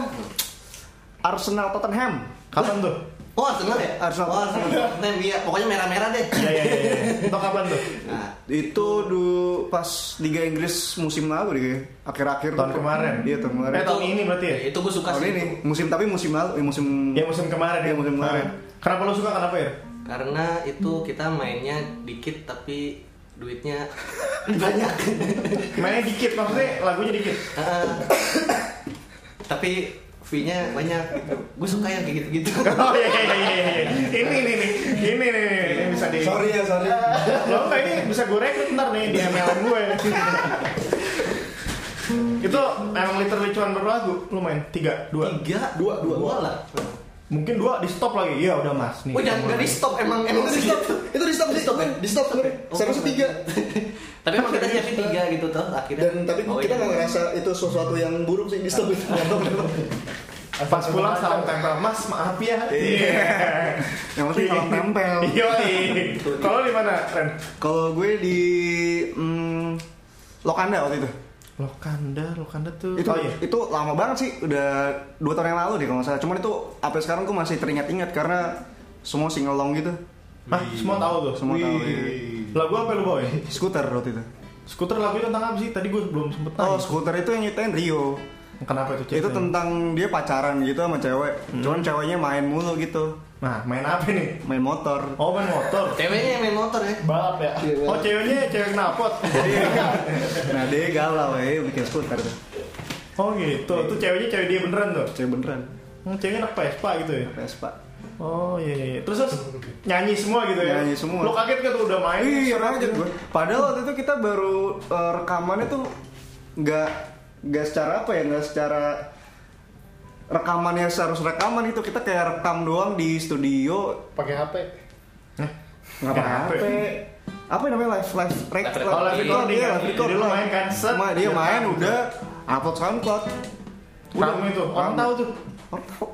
Speaker 4: Arsenal Tottenham
Speaker 3: Kapan tuh?
Speaker 6: Oh Arsenal ya?
Speaker 4: Arsenal.
Speaker 6: Oh Arsenal. Tottenham, iya. Pokoknya merah-merah deh.
Speaker 3: Iya iya iya. Itu kapan tuh?
Speaker 6: Nah,
Speaker 4: itu dulu pas Liga Inggris musim lalu deh kayaknya. akhir-akhir
Speaker 3: Tahun kemarin.
Speaker 4: iya tahun kemarin Iya.
Speaker 3: Eh, tahun ini berarti ya?
Speaker 6: itu gue suka
Speaker 4: tahun
Speaker 6: sih.
Speaker 4: ini
Speaker 6: itu.
Speaker 4: musim tapi musim lalu eh, musim
Speaker 3: Ya musim kemarin ya.
Speaker 4: Iya, musim kemarin.
Speaker 3: Nah, Kenapa lo suka kenapa ya?
Speaker 6: Karena itu kita mainnya dikit tapi duitnya banyak.
Speaker 3: Mainnya dikit maksudnya lagunya dikit.
Speaker 6: Heeh. Ah. tapi fee-nya banyak gitu. Gue suka yang kayak gitu-gitu.
Speaker 3: Oh iya iya iya iya. iya. Ini nih nih. Ini nih nih. Ini bisa di.
Speaker 5: Sorry ya, sorry.
Speaker 3: Lo enggak ini bisa gue rekrut ntar nih di ML gue. itu emang literally cuma berapa lagu? Lo main tiga, dua,
Speaker 6: Tiga,
Speaker 5: Dua, dua.
Speaker 6: lah.
Speaker 3: mungkin dua di stop lagi. Iya udah mas nih.
Speaker 6: Oh jangan nggak di stop emang emang
Speaker 5: Itu di stop,
Speaker 6: segitu.
Speaker 5: itu eh. di stop, di stop, di stop.
Speaker 6: Oh,
Speaker 5: Seharusnya tiga.
Speaker 6: tapi emang kita siapin tiga gitu toh akhirnya.
Speaker 5: Dan tapi
Speaker 6: Oh,
Speaker 5: kita
Speaker 6: iya.
Speaker 5: nggak ngerasa itu sesuatu yang buruk sih di stop
Speaker 4: Iya.
Speaker 5: itu. Nggak tahu kenapa.
Speaker 3: Pas pulang salam tempel, Mas maaf ya. Iya.
Speaker 4: yang penting salam tempel
Speaker 3: Iya. Kalau di mana, Ren?
Speaker 4: kalau gue di mm, Lokanda waktu itu
Speaker 3: Lokanda, Lokanda tuh.
Speaker 4: itu
Speaker 3: oh iya.
Speaker 4: itu lama banget sih udah dua tahun yang lalu deh kalau nggak salah cuman itu sampai sekarang gue masih teringat-ingat karena semua singelong gitu
Speaker 3: Hah, semua tahu tuh.
Speaker 4: Semua tahu, iya.
Speaker 3: Lagu apa yang lu bawain?
Speaker 4: skuter waktu itu
Speaker 3: Skuter lagunya tentang apa sih? Tadi gue belum sempet
Speaker 4: oh
Speaker 3: tanya.
Speaker 4: skuter itu yang nyetain Rio
Speaker 3: Kenapa itu?
Speaker 4: itu
Speaker 3: ceritanya?
Speaker 4: tentang dia pacaran gitu sama cewek cuman ceweknya main mulu gitu
Speaker 3: Nah, main apa nih?
Speaker 4: main motor
Speaker 3: Oh, main motor.
Speaker 6: Ceweknya yang main motor ya.
Speaker 2: Balap ya.
Speaker 3: Oh, ceweknya cewek knalpot.
Speaker 4: nah dia galau ya bikin skuter tuh
Speaker 3: Oh gitu. Itu ceweknya cewek dia beneran tuh.
Speaker 4: Iya. cewek beneran
Speaker 3: Hmm, Ceweknya anak Vespa gitu ya.
Speaker 4: Vespa
Speaker 3: Oh iya iya. iya. Terus, terus nyanyi semua gitu ya.
Speaker 4: Nyanyi semua.
Speaker 3: Lo kaget kan tuh udah main.
Speaker 4: Iya,
Speaker 3: seret
Speaker 4: kaget
Speaker 3: gitu.
Speaker 4: gue. Padahal waktu itu kita baru eh, rekamannya tuh nggak nggak secara apa ya, nggak secara rekamannya harus rekaman itu kita kayak rekam doang di studio
Speaker 2: Pakai HP.
Speaker 4: nggak pakai
Speaker 3: Kenapa?
Speaker 4: HP. Apa namanya live live rec-
Speaker 6: Live recording.
Speaker 4: live recording,
Speaker 3: Iya,
Speaker 4: live record.
Speaker 3: jadi lu main kan, set.
Speaker 4: Ma- dia
Speaker 3: Direkam.
Speaker 4: main udah upload SoundCloud.
Speaker 3: Rame itu. Orang
Speaker 4: Rame.
Speaker 3: tahu tuh.
Speaker 4: Orang tahu.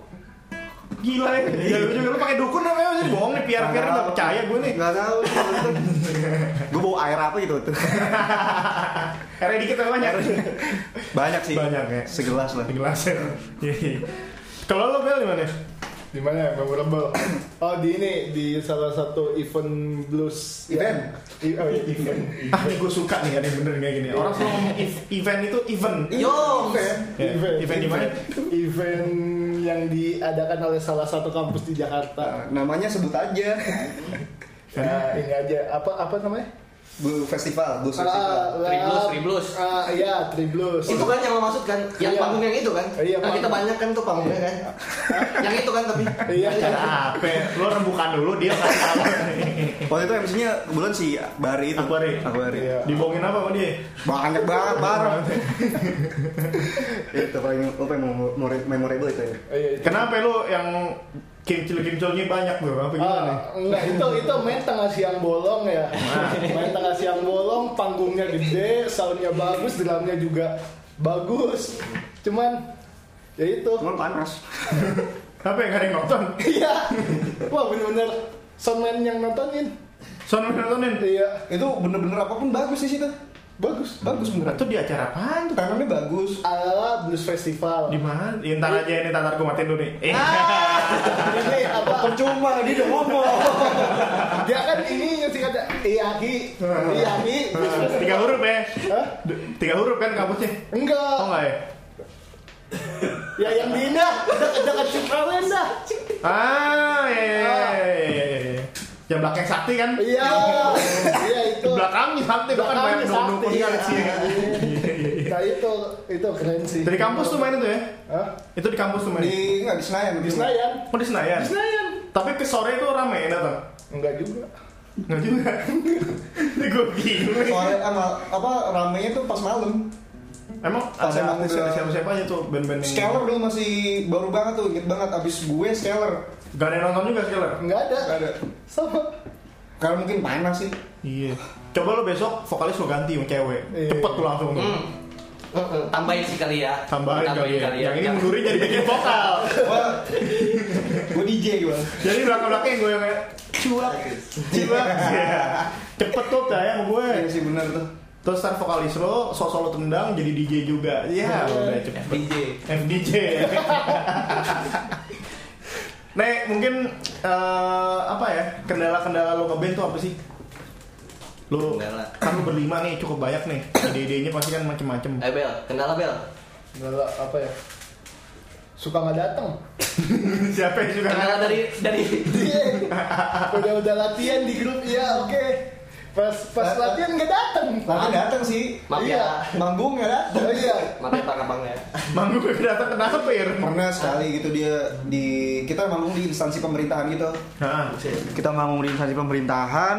Speaker 4: Iya.
Speaker 3: Gila ya. Ya lu juga lu pakai dukun apa ya? Jadi bohong nih PR-PR enggak percaya gue nih.
Speaker 4: Nggak tahu. gue bawa air apa gitu tuh.
Speaker 3: Airnya dikit apa banyak?
Speaker 4: Banyak sih.
Speaker 3: Banyak ya.
Speaker 4: Segelas lah.
Speaker 3: Gelas ya. Iya, iya. Kalau lo bel gimana?
Speaker 2: Di mana ya memorable? Oh di ini di salah satu event blues
Speaker 5: Event.
Speaker 2: I- oh, iya, event.
Speaker 3: Ah, ini gue suka nih ada yang bener kayak gini. Orang selalu ngomong ev- event itu event.
Speaker 5: Iya,
Speaker 6: Yo.
Speaker 3: Ya,
Speaker 2: Event.
Speaker 3: event di mana?
Speaker 2: Event yang diadakan oleh salah satu kampus
Speaker 3: Ah,
Speaker 2: di Jakarta.
Speaker 5: Namanya sebut aja.
Speaker 2: Nah, ini aja apa apa namanya?
Speaker 5: Blue Festival, Blue Festival.
Speaker 2: Ah,
Speaker 6: Triblus,
Speaker 2: ah,
Speaker 6: Triblus.
Speaker 2: ah, Iya, Triblus.
Speaker 6: Itu kan yang lo maksud kan? Yang
Speaker 2: Iya.
Speaker 6: panggung yang itu kan?
Speaker 2: Iya,
Speaker 6: Nah, kita
Speaker 2: panggung.
Speaker 6: banyak kan tuh panggungnya kan? yang itu kan tapi
Speaker 2: Iya, iya.
Speaker 3: Acara apa? Lo rembukan dulu dia kasih tahu.
Speaker 4: Waktu itu MC-nya kebetulan si Bari itu.
Speaker 3: Akbari.
Speaker 4: Akbari.
Speaker 2: Iya.
Speaker 3: Dibohongin apa sama dia?
Speaker 5: Banyak banget, parah.
Speaker 4: itu paling lo paling memori- memorable itu ya.
Speaker 2: Iya, itu.
Speaker 3: Kenapa lo yang kimcil-kimcilnya banyak tuh? Apa gimana nih?
Speaker 2: Ah, enggak itu itu main tengah siang bolong ya main tengah siang bolong panggungnya gede soundnya bagus drumnya juga bagus cuman ya itu
Speaker 4: Cuman panas.
Speaker 3: Apa yang gak ada yang nonton?
Speaker 2: iya wah bener-bener soundman yang nontonin
Speaker 3: Soalnya nontonin.
Speaker 2: iya
Speaker 5: Itu bener-bener apapun bagus di situ.
Speaker 2: bagus
Speaker 5: Bagus beneran.
Speaker 3: Itu di acara apaan tuh?
Speaker 5: Tangannya bagus.
Speaker 2: ala blues festival
Speaker 3: Di mana? Ya, ntar aja ini tatar gue matiin dulu nih. Eh,
Speaker 2: Ah. ini apa
Speaker 5: Percuma dia udah ngomong.
Speaker 2: dia kan ini yang sih kata iyahi iyahi blues festival.
Speaker 3: tiga huruf ya.
Speaker 2: Hah?
Speaker 3: D- Tiga huruf kan kampusnya.
Speaker 2: enggak
Speaker 3: Oh enggak ya?
Speaker 2: ya yang di Indah dekat dekat Cikrawen dah
Speaker 3: Ah, iya, iya, iya, iya, iya. Yang belakang sakti kan?
Speaker 2: iya iya
Speaker 3: Di
Speaker 2: itu
Speaker 3: belakangnya sakti, bahkan
Speaker 2: Belakangnya
Speaker 3: banyak dukun-dukun
Speaker 2: sakti,
Speaker 3: kan
Speaker 2: iya.
Speaker 3: sih. ya. Iya, iya, iya.
Speaker 2: Nah itu itu keren sih.
Speaker 3: Dari kampus tuh main itu ya?
Speaker 2: Hah?
Speaker 3: Itu di kampus tuh main?
Speaker 5: Di nggak di Senayan.
Speaker 2: Di Senayan.
Speaker 3: Oh di Senayan?
Speaker 2: Di Senayan.
Speaker 3: Tapi ke sore itu ramai yang datang?
Speaker 2: Enggak juga.
Speaker 3: Nggak juga Ini gue bingung
Speaker 5: Sore sama apa ramenya tuh pas malam.
Speaker 3: Emang
Speaker 5: Pas
Speaker 3: ada
Speaker 5: emang
Speaker 3: artis
Speaker 5: udah-
Speaker 3: siapa-siapa aja tuh band-band yang
Speaker 5: Scaler dulu masih baru banget tuh, inget banget abis gue Scaler.
Speaker 3: Gak ada yang nonton juga Skeller?
Speaker 2: Enggak ada.
Speaker 5: Nggak ada.
Speaker 2: Sama.
Speaker 5: Karena mungkin panas sih.
Speaker 3: Iya Coba lo besok vokalis lo ganti yang cewek
Speaker 2: Iya.
Speaker 3: Cepet tuh langsung tuh.
Speaker 6: Hmm. Tambahin sih kali ya.
Speaker 3: Tambahin kali ya Yang ini
Speaker 6: Jangan.
Speaker 3: mundurin jadi bikin vokal
Speaker 5: Wah, gue DJ gue.
Speaker 3: Jadi belakang-belakang gue yang kayak Cuap Cuap Iya. Cepet tuh ya sama gue
Speaker 5: Iya sih bener tuh.
Speaker 3: Terus ntar vokalis lo sosok lo tendang jadi DJ juga Iya udah cepet
Speaker 6: DJ.
Speaker 3: FDJ. Nek, mungkin eh, apa ya? Kendala-kendala lo ngeband tuh apa sih? Lo
Speaker 6: Kendala.
Speaker 3: kan lo berlima nih, cukup banyak nih. Ide-idenya pasti kan macem-macem.
Speaker 6: Eh Bel, kendala Bel.
Speaker 2: Enggak lah, apa ya? Suka nggak datang.
Speaker 3: Siapa yang suka
Speaker 6: Kendala dari dari
Speaker 2: Iya. udah udah latihan di grup iya oke. Pas pas
Speaker 5: Datang.
Speaker 2: latihan nggak datang.
Speaker 5: Tapi datang sih.
Speaker 6: maaf
Speaker 2: Iya.
Speaker 6: ya.
Speaker 5: Manggung nggak datang.
Speaker 2: Oh iya.
Speaker 6: Maaf ya Pak Abang ya.
Speaker 3: Manggung gue datang kenapa ya?
Speaker 5: Pernah sekali gitu dia di kita manggung di instansi pemerintahan gitu.
Speaker 3: Nah,
Speaker 4: Kita mau ngurus instansi pemerintahan.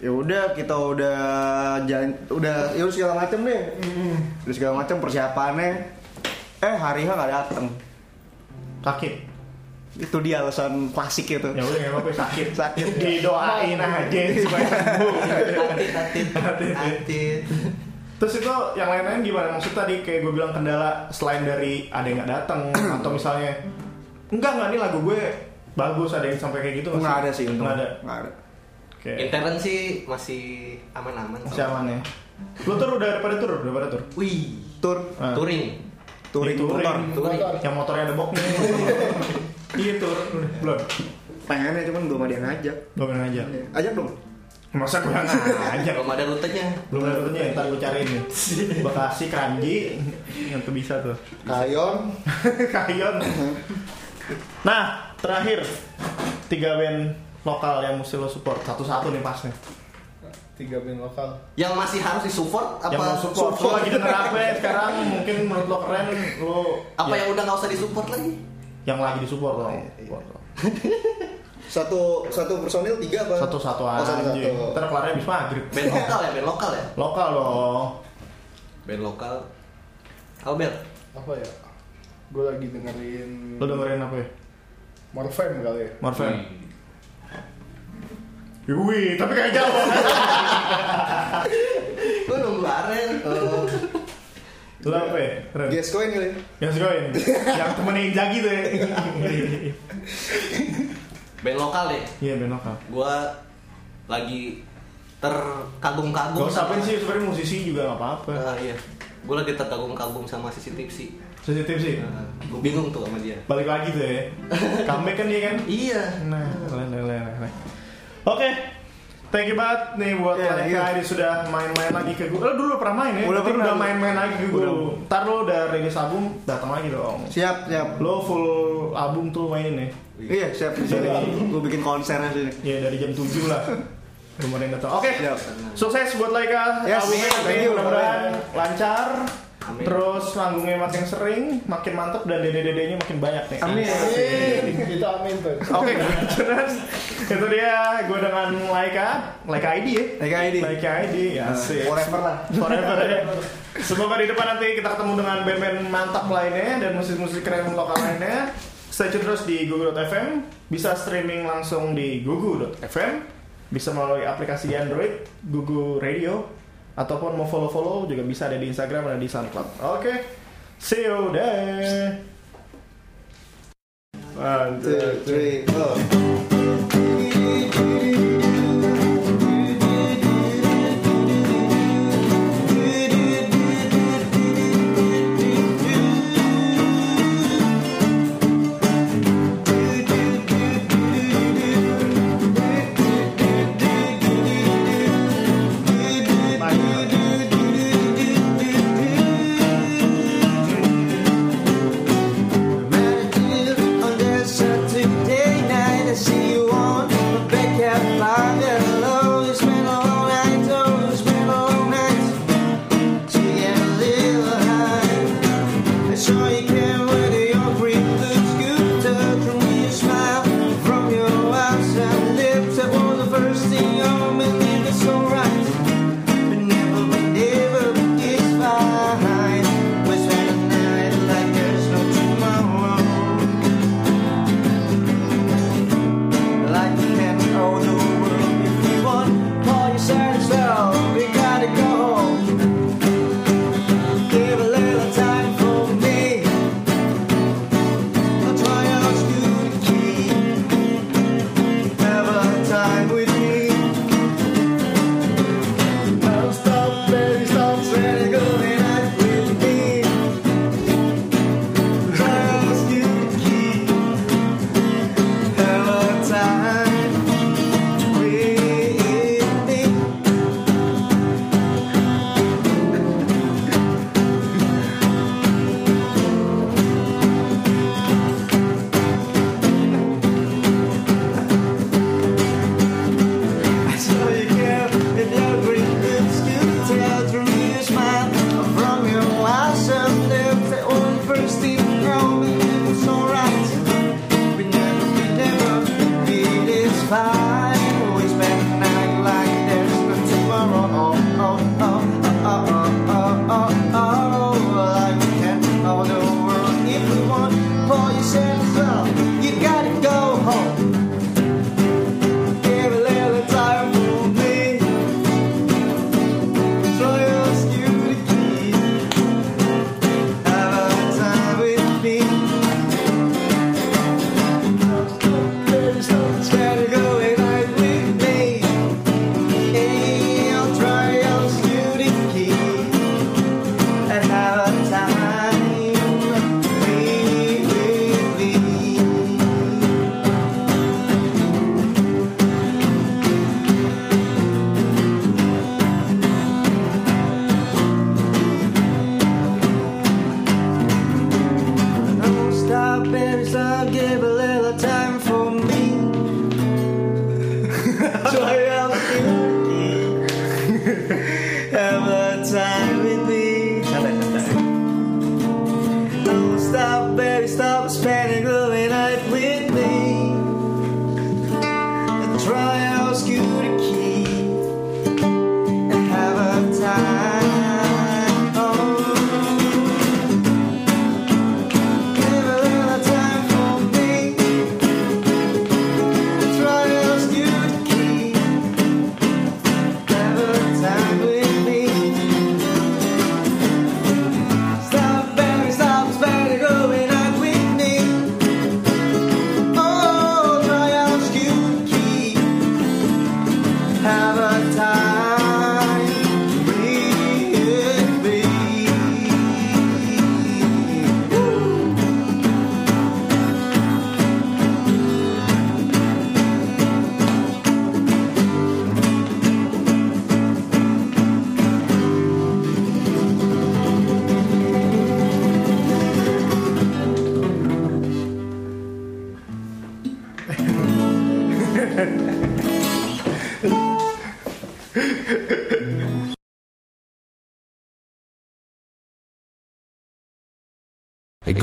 Speaker 4: Ya udah kita udah jalan udah ya udah segala macem deh. Udah segala macem persiapannya. Eh hari H nggak dateng.
Speaker 3: sakit.
Speaker 4: Itu dia alasan klasik itu.
Speaker 3: Ya udah nggak apa-apa sakit.
Speaker 4: Sakit.
Speaker 3: Didoain aja supaya sembuh.
Speaker 6: Atit, atit, atit.
Speaker 3: Terus itu yang lain-lain gimana? Maksud tadi kayak gue bilang kendala selain dari ada yang nggak datang atau misalnya enggak nggak nih lagu gue bagus ada yang sampai kayak gitu nggak
Speaker 4: Nggak ada sih untung.
Speaker 3: nggak ada.
Speaker 4: Nggak ada.
Speaker 3: Oke.
Speaker 6: Intern sih masih aman-aman.
Speaker 3: Masih aman ya. Lu tur udah pada tur udah pada tur.
Speaker 6: Wih,
Speaker 4: Tur
Speaker 3: Nah.
Speaker 6: touring.
Speaker 4: touring
Speaker 3: Iya, touring.
Speaker 4: motor.
Speaker 6: Touring.
Speaker 3: Yang motornya ada boknya. iya tur Udah, belum.
Speaker 4: Pengennya cuman belum ada yang ngajak.
Speaker 3: Belum aja.
Speaker 4: Ajak dong.
Speaker 3: Masa gue nggak ngajak?
Speaker 6: Belum ada rutenya.
Speaker 3: Belum ada turnya ya, ntar gue cariin nih. Bekasi, Kranji, yang tuh bisa tuh.
Speaker 5: Kayon,
Speaker 3: Kayon. Nah, terakhir tiga band lokal yang mesti lo support satu-satu nih pas nih.
Speaker 2: Tiga band lokal.
Speaker 6: Yang masih harus disupport apa?
Speaker 3: yang lo support, lo lagi denger apa ya sekarang mungkin menurut lo keren lo
Speaker 6: Apa Iya,
Speaker 3: ya,
Speaker 6: yang udah nggak usah disupport lagi?
Speaker 3: yang lagi disupport lo support lo.
Speaker 5: satu satu personil tiga apa?
Speaker 3: satu-satu
Speaker 5: Oh,
Speaker 3: aja
Speaker 5: satu-satu.
Speaker 3: ntar kelarnya abis maghrib
Speaker 6: Band lokal ya, band lokal ya.
Speaker 3: lokal lo
Speaker 6: Band lokal. Kalau Bel,
Speaker 2: Apa ya? Gue lagi dengerin
Speaker 3: lo dengerin apa ya
Speaker 2: Morfem kali ya.
Speaker 3: Marvel
Speaker 6: Hmm.
Speaker 3: Wih, tapi kayak jauh.
Speaker 6: lu nunggu bareng.
Speaker 3: Lo apa ya? Keren.
Speaker 5: Guess coin kali.
Speaker 3: Yang segoin. Yang temennya Inzaghi tuh ya.
Speaker 6: Band lokal ya.
Speaker 3: Iya, band lokal.
Speaker 6: Gua lagi terkagum-kagum.
Speaker 3: Gak usah
Speaker 6: sama-
Speaker 3: apa sih, sebenarnya musisi juga gak apa-apa.
Speaker 6: Ah, iya. Gua lagi terkagum-kagum sama sisi tipsi.
Speaker 3: Sensitif sih.
Speaker 6: Nah, gua bingung tuh sama dia.
Speaker 3: balik lagi tuh ya comeback kan dia kan
Speaker 6: Iya.
Speaker 3: nah keren keren keren, keren. oke thank you banget nih buat
Speaker 4: Iya,
Speaker 3: yeah,
Speaker 4: iya.
Speaker 3: sudah main-main lagi ke gue lo dulu pernah main ya
Speaker 4: Udah
Speaker 3: Tapi
Speaker 4: pernah.
Speaker 3: udah main-main lagi ke gue
Speaker 4: Udah.
Speaker 3: ntar lo udah rilis album datang lagi dong
Speaker 4: Siap, siap.
Speaker 3: lo full album tuh mainin ya
Speaker 4: Iya, siap di sini. Gue bikin konsernya sini.
Speaker 3: ya dari jam 7 lah Rumor yang datang. Oke.
Speaker 7: Siap.
Speaker 3: Sukses buat Laika.
Speaker 7: Yes,
Speaker 3: Albumnya
Speaker 7: thank
Speaker 3: nanti
Speaker 7: you.
Speaker 3: mudah-mudahan lancar.
Speaker 8: Amin.
Speaker 3: Terus manggungnya makin sering, makin mantep dan dede-dedenya makin banyak nih.
Speaker 7: Amin.
Speaker 2: Itu amin tuh.
Speaker 3: Oke, terus itu dia gue dengan Laika, Laika ID ya.
Speaker 7: Laika ID.
Speaker 3: Laika ID, ya
Speaker 7: Iya.
Speaker 3: sih.
Speaker 7: Forever lah.
Speaker 3: Forever ya. Semoga di depan nanti kita ketemu dengan band-band mantap lainnya dan musik-musik keren lokal lainnya. Stay tune terus di gugu.fm, bisa streaming langsung di gugu.fm, bisa melalui aplikasi Android Gugu Radio ataupun mau follow-follow juga bisa ada di Instagram dan di SoundCloud. Oke. See you there. One, two,
Speaker 6: Two, three, four.
Speaker 3: Bye.
Speaker 4: On the Saturday night, I see you on the back at five. Hello, it's been a long night. Oh, it's been a long night. To get a little high, I saw you came with your green blue scooter. Drew me a smile from your eyes and lips. That was the first thing I believed it's alright. But never, but never, but it's fine. We spend a night like there's no tomorrow. Like we can own the world if we want. Call yourself yourself, we gotta go home. Give a little time for me. I'll try out to keep. Have a time with me. Don't stop, baby, stop, say go night with me. Try out to keep. Hello time with me. I saw you care in your green lips to tell through your smile from your eyes and lips that one first thing wrong and it was alright. We never, we never feel it's fine. Always spend the night like there's no tomorrow. Oh, oh, oh, oh, oh, oh, oh, oh, oh. Like we can all the world if we want. Pull yourself up, you gotta go home. Give a little time for me. Try to ask you to keep. Have a time with me. Try to go at night with me. Hey, I'll try to ask you to keep. And have a time with me. Don't stop, baby, stop, give a little time for me. Try out the key. Have a time with me. Don't stop, baby, stop spending the night with me. And try out you the key. And have a time. Oh. Give a little time for me. Try to ask you to keep. Have a time with me. Stop, baby, stop, baby, go and act with me. Oh, try to ask you to keep. Have a time with me.